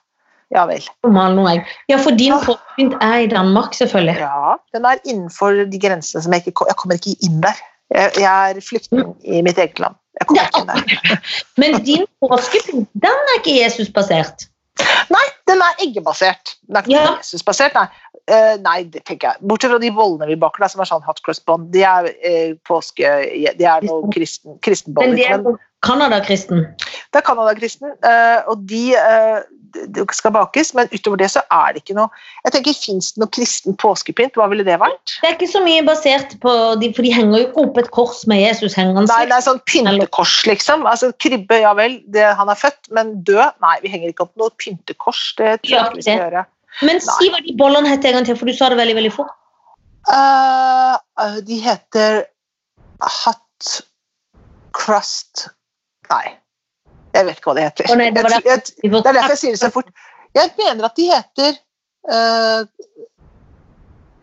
Speaker 1: Ja vel.
Speaker 2: og male noe egg. Ja, for din
Speaker 1: Ah.
Speaker 2: påskynt er i Danmark, selvfølgelig.
Speaker 1: Ja, Den er innenfor de grensene som jeg ikke ko- Jeg kommer ikke inn der. Jeg, jeg er flyktning i mitt eget land. Jeg kommer ikke inn der.
Speaker 2: Men din påskepynt, den er ikke Jesus basert.
Speaker 1: Nei, den er eggebasert. Den er ikke
Speaker 2: Ja.
Speaker 1: Jesusbasert, nei. Eh, nei, det tenker jeg. Bortsett fra de bollene vi baker, da, som er sånn hot cross bond. De er eh, påske... De er noe kristen, kristenboller.
Speaker 2: Men det er
Speaker 1: men-
Speaker 2: jo Canada-kristen.
Speaker 1: Det er Canada-kristen, eh, og de eh, d- d- skal bakes, men utover det så er det ikke noe Jeg tenker, Fins det noe kristen påskepynt? Hva ville det vært?
Speaker 2: Det er ikke så mye basert på de, For de henger jo ikke opp et kors med Jesus hengende.
Speaker 1: Nei, det er sånn pyntekors, liksom. Altså, Krybbe, ja vel, det, han er født, men død? Nei, vi henger ikke opp noe pyntekors. Det tror jeg
Speaker 2: Ja,
Speaker 1: ikke vi skal gjøre.
Speaker 2: Men si hva de bollene heter en gang til, for du sa det veldig veldig fort.
Speaker 1: Eh, eh, de heter Hot Crust Nei, jeg vet ikke hva det heter.
Speaker 2: Å, nei, det var
Speaker 1: jeg, jeg,
Speaker 2: Vi får-
Speaker 1: Det er derfor jeg sier det så fort. Jeg mener at de heter eh,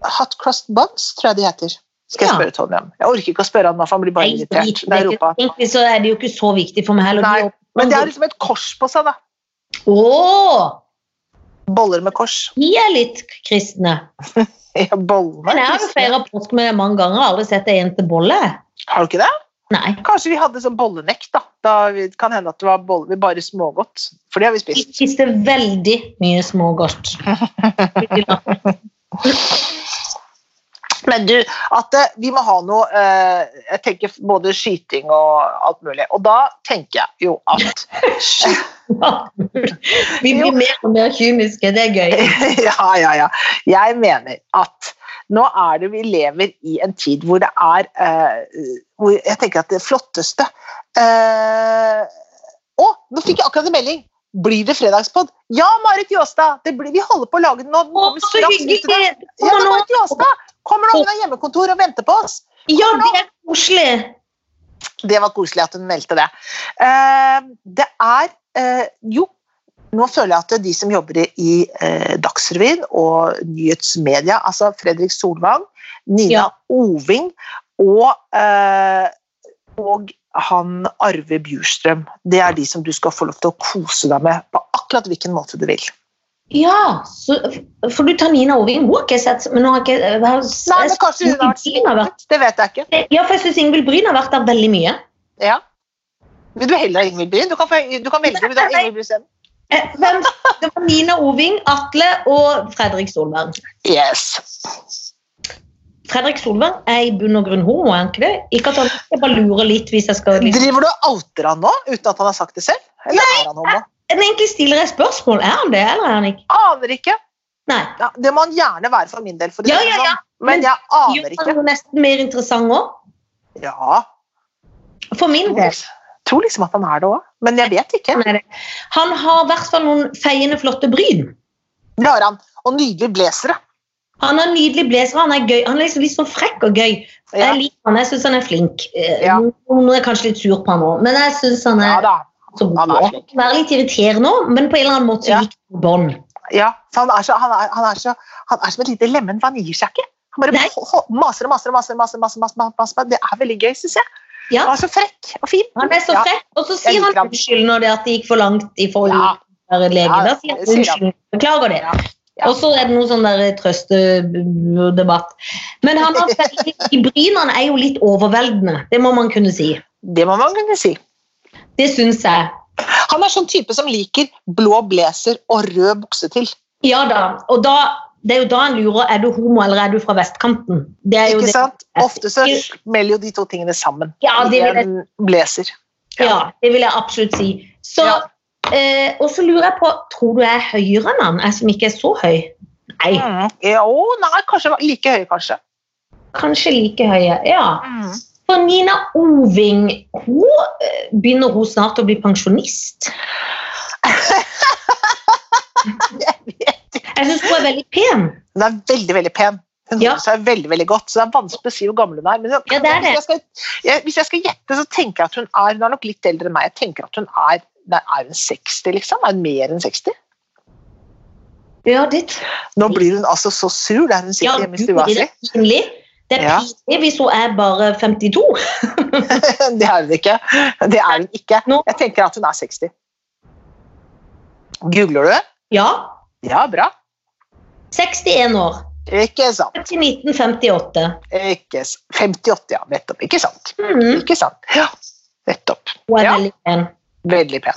Speaker 1: Hot Crust Buns, tror jeg de heter. Skal jeg
Speaker 2: Ja.
Speaker 1: spørre Tony om. Jeg orker ikke å spørre han nå, for han blir bare
Speaker 2: Nei,
Speaker 1: irritert.
Speaker 2: drit i
Speaker 1: Det er Europa.
Speaker 2: Egentlig så er det jo ikke så viktig for meg heller.
Speaker 1: Nei, Men det er liksom et kors på seg, da.
Speaker 2: Åh,
Speaker 1: Boller med kors. <laughs>
Speaker 2: vi er litt kristne.
Speaker 1: Ja, bollene
Speaker 2: Men jeg
Speaker 1: er
Speaker 2: har jo
Speaker 1: kristne.
Speaker 2: feira påske med mange ganger og aldri sett ei jente bolle.
Speaker 1: Har du ikke det?
Speaker 2: Nei.
Speaker 1: Kanskje vi hadde sånn bollenekt, da. da vi, kan hende at det var boller vi bare smågodt. For det har vi
Speaker 2: Vi
Speaker 1: spist.
Speaker 2: spiste veldig
Speaker 1: <laughs>
Speaker 2: mye smågodt.
Speaker 1: Men du, at eh, vi må ha noe eh, Jeg tenker både skyting og alt mulig. Og da tenker jeg jo at <laughs>
Speaker 2: <laughs> Vi
Speaker 1: Jo.
Speaker 2: blir mer og mer kyniske, det er gøy.
Speaker 1: <laughs> ja, ja, ja. Jeg mener at nå er det vi lever i en tid hvor det er eh, hvor Jeg tenker at det flotteste eh, Å, nå fikk jeg akkurat en melding! Blir det fredagspod? Ja, Marit Jåstad! Det blir, vi holder på å lage den nå. Den
Speaker 2: Å,
Speaker 1: kommer
Speaker 2: så
Speaker 1: straks
Speaker 2: hyggelig!
Speaker 1: ut i dag. Ja,
Speaker 2: Kommer
Speaker 1: men
Speaker 2: nå.
Speaker 1: Marit Jåstad kommer nå, hun har hjemmekontor og venter på oss.
Speaker 2: Ja, det er koselig!
Speaker 1: Det var koselig at hun meldte det. Eh, det er eh, Jo, nå føler jeg at de som jobber i eh, Dagsrevyen og nyhetsmedia, altså Fredrik Solvang, Nina
Speaker 2: Ja.
Speaker 1: Oving og, eh, og han Arve Bjurstrøm, det er de som du skal få lov til å kose deg med på akkurat hvilken måte du vil.
Speaker 2: Ja, så får du ta Nina Oving. Hun har ikke jeg sett men hun har ikke jeg har-
Speaker 1: Nei, men kanskje hun
Speaker 2: Ingvild
Speaker 1: har vært
Speaker 2: Bryn har vært
Speaker 1: smittet? Det vet jeg ikke.
Speaker 2: Ja, for jeg syns Ingvild Bryn har vært der veldig mye.
Speaker 1: Ja. Vil du heller ha Ingvild Bryn? Du kan, få- du kan velge. Vil du ha Ingvild Bryn isteden?
Speaker 2: Eh, Hvem? Det var Nina Oving, Atle og Fredrik Solberg.
Speaker 1: Yes.
Speaker 2: Fredrik Solberg er i bunn og grunn homo, er han ikke det? Ikke at han jeg bare lurer litt hvis jeg skal liksom.
Speaker 1: Driver du og outer han nå, uten at han har sagt det selv? Eller er han homo?
Speaker 2: En egentlig stilrett spørsmål. Er han det, eller er han ikke?
Speaker 1: Aner ikke.
Speaker 2: Nei.
Speaker 1: Ja, det må han gjerne være for min del, for å si
Speaker 2: Ja,
Speaker 1: det
Speaker 2: ja, ja.
Speaker 1: sånn. men jeg
Speaker 2: Jo,
Speaker 1: aner
Speaker 2: han er
Speaker 1: ikke.
Speaker 2: jo nesten mer interessant òg.
Speaker 1: Ja,
Speaker 2: For min del.
Speaker 1: jeg tror liksom at han er det òg, men jeg vet ikke.
Speaker 2: Han, er det. han har i hvert fall noen feiende flotte bryn.
Speaker 1: Det har han. Og nydelige blazere.
Speaker 2: Han har nydelig blazer, han er gøy. Han er liksom litt sånn frekk og gøy.
Speaker 1: Ja.
Speaker 2: Jeg liker han, jeg syns han er flink. Eh,
Speaker 1: Ja.
Speaker 2: Noen er kanskje litt sur på han òg, men jeg syns han
Speaker 1: Ja
Speaker 2: er
Speaker 1: da.
Speaker 2: så
Speaker 1: han
Speaker 2: god.
Speaker 1: er
Speaker 2: Han
Speaker 1: flink.
Speaker 2: kan være litt irriterende òg, men på en eller annen måte så
Speaker 1: Ja.
Speaker 2: gikk det på bånd.
Speaker 1: Ja, for han er, så, han, er, han, er så, han er som et lite lemen, for han gir seg ikke. Han bare
Speaker 2: Nei.
Speaker 1: ho- ho- maser og maser og maser. maser, maser, maser, maser, maser. Det er veldig gøy, syns jeg.
Speaker 2: Ja.
Speaker 1: Han er så frekk og fin.
Speaker 2: Han er så
Speaker 1: Ja.
Speaker 2: frekk, og så
Speaker 1: Jeg
Speaker 2: sier
Speaker 1: liker
Speaker 2: han
Speaker 1: han.
Speaker 2: unnskyld når det at det gikk for langt i forhold
Speaker 1: Ja.
Speaker 2: til legen.
Speaker 1: Ja,
Speaker 2: Da sier han
Speaker 1: det sier han.
Speaker 2: unnskyld, beklager det.
Speaker 1: Ja. Ja.
Speaker 2: Og så er det noe sånn der trøstedebatt. Men han
Speaker 1: <laughs>
Speaker 2: har veldig brynene er jo litt overveldende, det må man kunne si.
Speaker 1: Det må man kunne si.
Speaker 2: Det syns jeg.
Speaker 1: Han er sånn type som liker blå blazer og rød bukse til.
Speaker 2: Ja da. Og da, det er jo da en lurer er du homo eller er du fra vestkanten. Det er jo
Speaker 1: Ikke
Speaker 2: det.
Speaker 1: sant? Ofte så smeller jo de to tingene sammen
Speaker 2: Ja,
Speaker 1: i
Speaker 2: det vil jeg,
Speaker 1: en blazer.
Speaker 2: ja, det vil jeg absolutt si. Så,
Speaker 1: Ja.
Speaker 2: eh, og så lurer jeg på Tror du jeg er høyere enn han? Jeg som ikke er så høy? Nei,
Speaker 1: Mm. Ja, å, nei, kanskje like høye, kanskje.
Speaker 2: kanskje like høye. Ja. For Nina Oving hun eh, begynner hun snart å bli
Speaker 1: <laughs>
Speaker 2: pensjonist. Jeg syns hun er veldig pen.
Speaker 1: Hun er veldig, veldig pen. Hun
Speaker 2: Ja.
Speaker 1: holder seg veldig, veldig godt, så det er vanskelig å si hvor gammel hun er. Men
Speaker 2: Ja, det er det.
Speaker 1: Hvis, jeg skal, jeg, hvis jeg skal gjette, så tenker jeg at hun er Hun er nok litt eldre enn meg. Jeg tenker at hun er Nei, er hun 60, liksom? Er hun mer enn 60?
Speaker 2: Ja, det tror
Speaker 1: Nå blir hun altså så sur der hun sitter hjemme i stua si.
Speaker 2: Gud, det er pinlig. Det er
Speaker 1: Ja.
Speaker 2: pinlig hvis hun er bare 52.
Speaker 1: <laughs> Det er hun ikke. Det er hun ikke.
Speaker 2: Nå-
Speaker 1: Jeg tenker at hun er 60. Googler du?
Speaker 2: Ja,
Speaker 1: Ja, bra.
Speaker 2: 61 år.
Speaker 1: Ikke sant.
Speaker 2: Født i 1958.
Speaker 1: Ikke s- 58, ja. Nettopp. Ikke sant.
Speaker 2: Mhm,
Speaker 1: Ikke sant. Ja, nettopp.
Speaker 2: Hun er
Speaker 1: Ja.
Speaker 2: veldig pen.
Speaker 1: Veldig pen.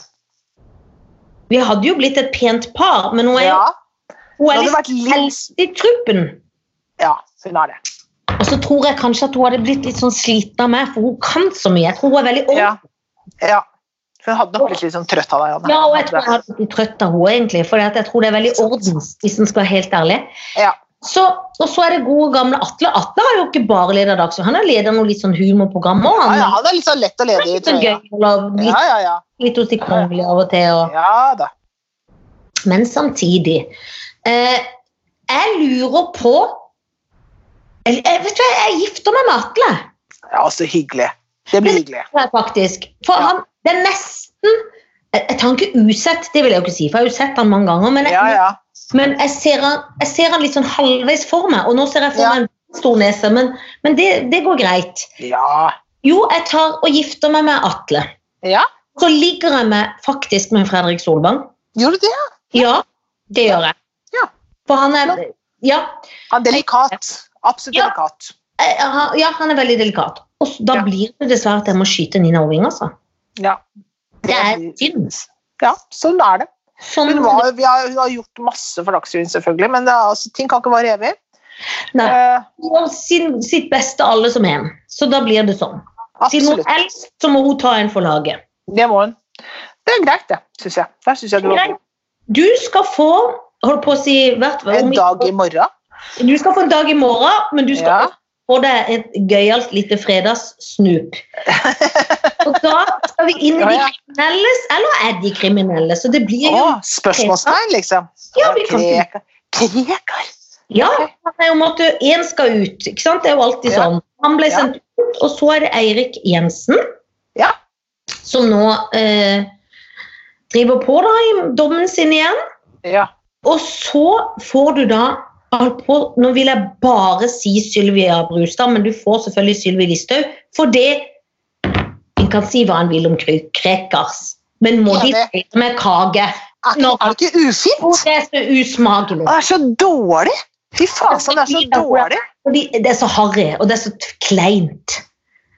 Speaker 2: Vi hadde jo blitt et pent par, men hun er,
Speaker 1: Ja,
Speaker 2: hun
Speaker 1: hun
Speaker 2: er
Speaker 1: hadde
Speaker 2: litt
Speaker 1: vært litt
Speaker 2: helst i truppen.
Speaker 1: Ja, hun er det.
Speaker 2: Og så tror jeg kanskje at hun hadde blitt litt sånn sliten av meg, for hun kan så mye. Jeg tror hun er veldig ung. Ja,
Speaker 1: Ja. ja. Hun hadde nok blitt litt sånn trøtt av deg, Janne.
Speaker 2: og jeg tror jeg hadde blitt trøtt av henne, egentlig. For jeg tror det er veldig ordens, hvis en skal være helt ærlig.
Speaker 1: Ja.
Speaker 2: Så, og så er det gode gamle Atle. Atle har jo ikke bare leder Dagsrevyen, han er leder av noe litt sånn humorprogram òg.
Speaker 1: Ja,
Speaker 2: Han,
Speaker 1: ja, han er litt sånn lett og
Speaker 2: han er
Speaker 1: ledig i
Speaker 2: litt sånn
Speaker 1: trøya.
Speaker 2: gøy, eller
Speaker 1: Ja,
Speaker 2: litt,
Speaker 1: ja, ja.
Speaker 2: litt hos de kongelige av og til. Og,
Speaker 1: Ja da.
Speaker 2: Men samtidig eh, Jeg lurer på eller, jeg, Vet du hva, jeg gifter meg med Atle,
Speaker 1: Ja, så hyggelig. Det blir hyggelig.
Speaker 2: tror jeg faktisk. For
Speaker 1: Ja.
Speaker 2: han, det er nesten jeg, jeg tar han ikke usett, det vil jeg jo ikke si, for jeg har jo sett han mange ganger. Men jeg,
Speaker 1: Ja, ja.
Speaker 2: men jeg, ser, han, jeg ser han litt sånn halvveis for meg, og nå ser jeg for
Speaker 1: Ja.
Speaker 2: meg en stor nese, men, men det, det går greit.
Speaker 1: Ja.
Speaker 2: Jo, jeg tar og gifter meg med Atle.
Speaker 1: ja.
Speaker 2: Så ligger jeg med, faktisk med Fredrik Solvang.
Speaker 1: Gjorde du det?
Speaker 2: Ja, det gjør jeg.
Speaker 1: Ja.
Speaker 2: For han er Ja.
Speaker 1: Han er delikat. Absolutt
Speaker 2: Ja.
Speaker 1: delikat.
Speaker 2: Eh, han- Ja, han er veldig delikat. Og s- da
Speaker 1: Ja.
Speaker 2: blir det dessverre at jeg må skyte Nina Oving, altså.
Speaker 1: Ja.
Speaker 2: Det er synd.
Speaker 1: Ja, sånn er det.
Speaker 2: Sånn,
Speaker 1: Hun, var, vi har, hun har gjort masse for Dagsrevyen, selvfølgelig, men det, er altså, ting kan ikke vare evig.
Speaker 2: nei,
Speaker 1: Eh,
Speaker 2: hun gjør sin, sitt beste alle som en. Så da blir det sånn. Siden hun
Speaker 1: absolutt.
Speaker 2: helst, så må hun ta en for laget.
Speaker 1: Det må hun. Det er greit, det, syns jeg. Der synes jeg du var
Speaker 2: Greit.
Speaker 1: god.
Speaker 2: Du skal få holdt på å si hvert
Speaker 1: En
Speaker 2: om-
Speaker 1: dag i morgen.
Speaker 2: Du skal få en dag i morgen, men du skal
Speaker 1: Ja.
Speaker 2: også få deg et gøyalt lite
Speaker 1: <laughs>
Speaker 2: fredagssnup. Og da skal vi inn i
Speaker 1: Ja,
Speaker 2: de
Speaker 1: ja.
Speaker 2: kriminelles, eller er de kriminelle? Så det blir
Speaker 1: Å,
Speaker 2: jo
Speaker 1: spørsmålstegn, liksom.
Speaker 2: Ja, vi kan ikke-
Speaker 1: Krekar. Krekar.
Speaker 2: Ja, han er jo måtte, en skal ut, ikke sant? Det er jo alltid
Speaker 1: Ja.
Speaker 2: sånn. Han ble
Speaker 1: Ja.
Speaker 2: sendt ut, og så er det Eirik Jensen,
Speaker 1: Ja.
Speaker 2: som nå eh, driver på da i dommen sin igjen.
Speaker 1: Ja.
Speaker 2: Og så får du da alt på, nå vil jeg bare si Sylvia Brustad, men du får selvfølgelig Sylvi Listhaug, for det en kan si hva en vil om Kre- Krekars, men må de
Speaker 1: Enig.
Speaker 2: spise med kage?
Speaker 1: Er,
Speaker 2: Nå.
Speaker 1: er det ikke
Speaker 2: Og
Speaker 1: ufint?
Speaker 2: det er så usmakelig.
Speaker 1: Han er så dårlig! Fy faen, han er så dårlig.
Speaker 2: Fordi det er så harry, og det er så t- kleint.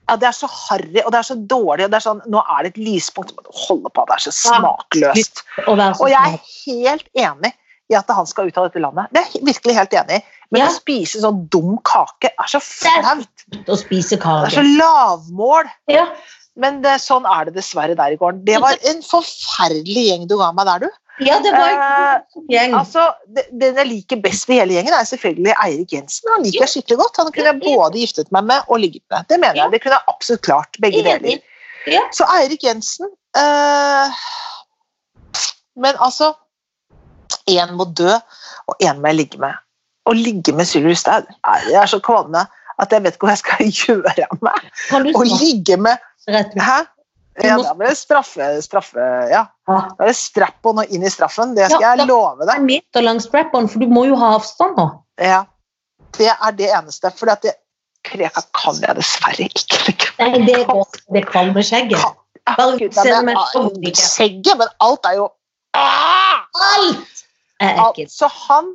Speaker 1: Ja, det er så harry, og det er så dårlig. Og det er sånn, nå er det et lyspunkt. Holde på, det er så smakløst.
Speaker 2: å være så
Speaker 1: Og jeg
Speaker 2: smart.
Speaker 1: er helt enig i at han skal ut av dette landet. Det er jeg virkelig helt enig i. Men
Speaker 2: Ja.
Speaker 1: å spise sånn dum kake er så flaut.
Speaker 2: Å spise
Speaker 1: Det er så
Speaker 2: kake.
Speaker 1: lavmål.
Speaker 2: Ja.
Speaker 1: Men det, sånn er det dessverre der i gården. Det var en forferdelig gjeng du ga meg der, du.
Speaker 2: Ja, det var
Speaker 1: Eh,
Speaker 2: en gjeng.
Speaker 1: Altså, det- Den jeg liker best i hele gjengen, er selvfølgelig Eirik Jensen. Han liker jeg skikkelig godt. Han kunne jeg både giftet meg med og ligget med. Det mener jeg. Det kunne jeg absolutt klart. Begge deler.
Speaker 2: Enig. Ja.
Speaker 1: Så Eirik Jensen eh, Men altså Én må dø, og én må jeg ligge med. Å ligge med Sylvi Lysthaug er- Jeg er så kvalme at jeg vet ikke hva jeg skal <laughs> gjøre av meg.
Speaker 2: Kan du
Speaker 1: Å
Speaker 2: snakke
Speaker 1: ligge med
Speaker 2: rett ut?
Speaker 1: Hæ?
Speaker 2: Du
Speaker 1: Ja,
Speaker 2: må-
Speaker 1: da blir det straffe, straffe Ja,
Speaker 2: Ja.
Speaker 1: da er det strap-on og inn i straffen. Det skal
Speaker 2: Ja, da-
Speaker 1: jeg love deg.
Speaker 2: En meter lang strap-on, for du må jo ha avstand nå.
Speaker 1: Ja. Det er det eneste. For det Kreka kan jeg dessverre ikke legge
Speaker 2: Nei, det går det kvalme skjegget.
Speaker 1: Kan-
Speaker 2: Bare
Speaker 1: Gud,
Speaker 2: se
Speaker 1: nei,
Speaker 2: meg
Speaker 1: men,
Speaker 2: sånn,
Speaker 1: ah,
Speaker 2: ikke.
Speaker 1: Skjegget, men alt er jo ah!
Speaker 2: Alt er
Speaker 1: Alt.
Speaker 2: ekkelt.
Speaker 1: Så han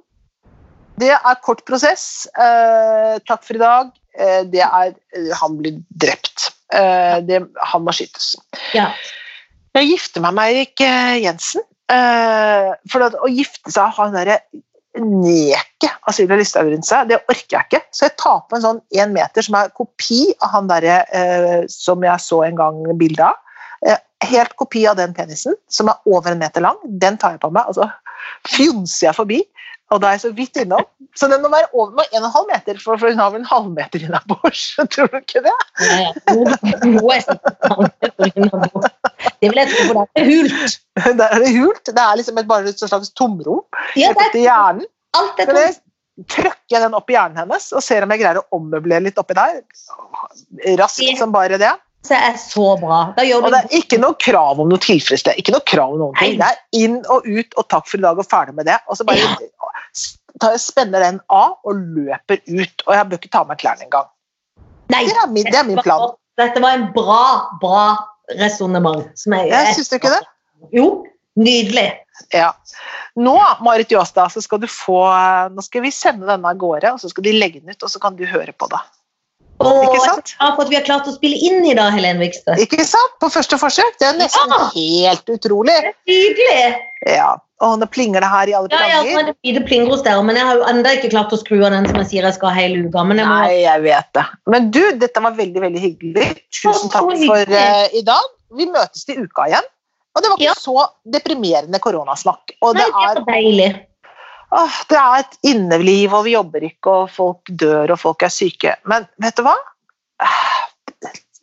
Speaker 1: Det er kort prosess. Eh, takk for i dag. Eh, det er eh, Han blir drept. Eh, det, han må skytes.
Speaker 2: Ja.
Speaker 1: Jeg gifter meg med Eirik eh, Jensen. Eh, for at, å gifte seg og ha en derre neket av Sylvia Listhaug rundt seg, det orker jeg ikke. Så jeg tar på en sånn én meter som er kopi av han derre eh, som jeg så en gang bilde av. Eh, helt kopi av den penisen, som er over en meter lang. Den tar jeg på meg, og så fjomser jeg forbi. Og da er jeg så vidt innom. Så den må være over med en og en halv meter, for, for hun har vel en halvmeter innabords. <laughs> Tror du ikke det?
Speaker 2: Ja, ja. Jo, jo, jeg sitter- Det vil jeg tro på deg. Det er hult.
Speaker 1: Der er det hult. Det er liksom et, bare et slags tomrom
Speaker 2: Ja, det
Speaker 1: etter
Speaker 2: er
Speaker 1: hjernen.
Speaker 2: alt er
Speaker 1: Men
Speaker 2: tomt.
Speaker 1: jeg trøkker jeg den opp i hjernen hennes og ser om jeg greier å ommøblere litt oppi der. Raskt som bare det.
Speaker 2: Det er så bra. Da gjør
Speaker 1: Og
Speaker 2: du
Speaker 1: det er ikke noe krav om noe tilfredsstillelse. Ikke noe krav om noen ting. Det er inn og ut og takk for i dag og ferdig med det. Og så bare
Speaker 2: Ja.
Speaker 1: s- tar jeg- spenner den av og løper ut. Og jeg bør ikke ta av meg klærne engang.
Speaker 2: Nei,
Speaker 1: Det er min, det er min plan.
Speaker 2: Dette var en bra, bra resonnement. som jeg-
Speaker 1: Jeg syns du ikke det?
Speaker 2: Jo, nydelig.
Speaker 1: Ja. Nå, Marit Jåstad, så skal du få Nå skal vi sende denne av gårde, og så skal de legge den ut, og så kan du høre på det.
Speaker 2: Åh,
Speaker 1: Ikke
Speaker 2: jeg er
Speaker 1: sant?
Speaker 2: så glad for at vi har klart å spille inn i dag, Helen Vikstø.
Speaker 1: Ikke sant? På første forsøk. Det er nesten
Speaker 2: Ja.
Speaker 1: helt utrolig.
Speaker 2: Nydelig!
Speaker 1: Ja, og nå plinger det her i alle
Speaker 2: Ja, jeg har
Speaker 1: planger.
Speaker 2: sånn et lite plinger hos dere, men jeg har jo enda ikke klart å skru av den som jeg sier jeg skal ha hele uka. Men jeg må,
Speaker 1: Nei, jeg vet det. Men du, dette var veldig, veldig hyggelig. Tusen
Speaker 2: Å, så
Speaker 1: takk for
Speaker 2: hyggelig.
Speaker 1: eh, i dag. Vi møtes til uka igjen. Og det var ikke
Speaker 2: Ja.
Speaker 1: så deprimerende koronasnakk. Og
Speaker 2: nei,
Speaker 1: det
Speaker 2: det
Speaker 1: er,
Speaker 2: var deilig.
Speaker 1: åh, det er et inneliv, og vi jobber ikke, og folk dør, og folk er syke. Men vet du hva? Ah,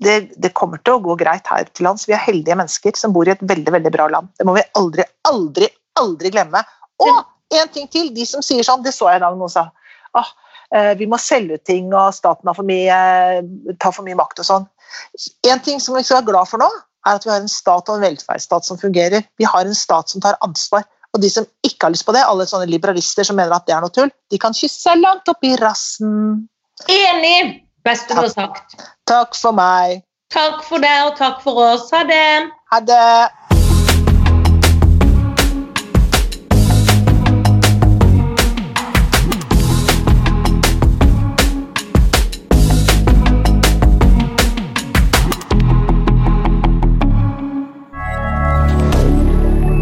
Speaker 1: Det, det kommer til å gå greit her til lands. Vi er heldige mennesker som bor i et veldig, veldig bra land. Det må vi aldri, aldri, aldri glemme. Og en ting til, de som sier sånn, det så jeg i dag noen sa. Ah, eh, vi må selge ut ting, og staten har for mye, eh, tar for mye makt og sånn. En ting som vi skal være glad for nå, er at vi har en stat og en velferdsstat som fungerer. Vi har en stat som tar ansvar. Og de som ikke har lyst på det, alle sånne liberalister som mener at det er noe tull, de kan kysse seg langt opp i rassen.
Speaker 2: Enig! Beste du har sagt.
Speaker 1: Takk for meg.
Speaker 2: Takk for det, og takk for oss. Ha det!
Speaker 1: Ha det.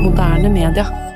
Speaker 3: Moderne media.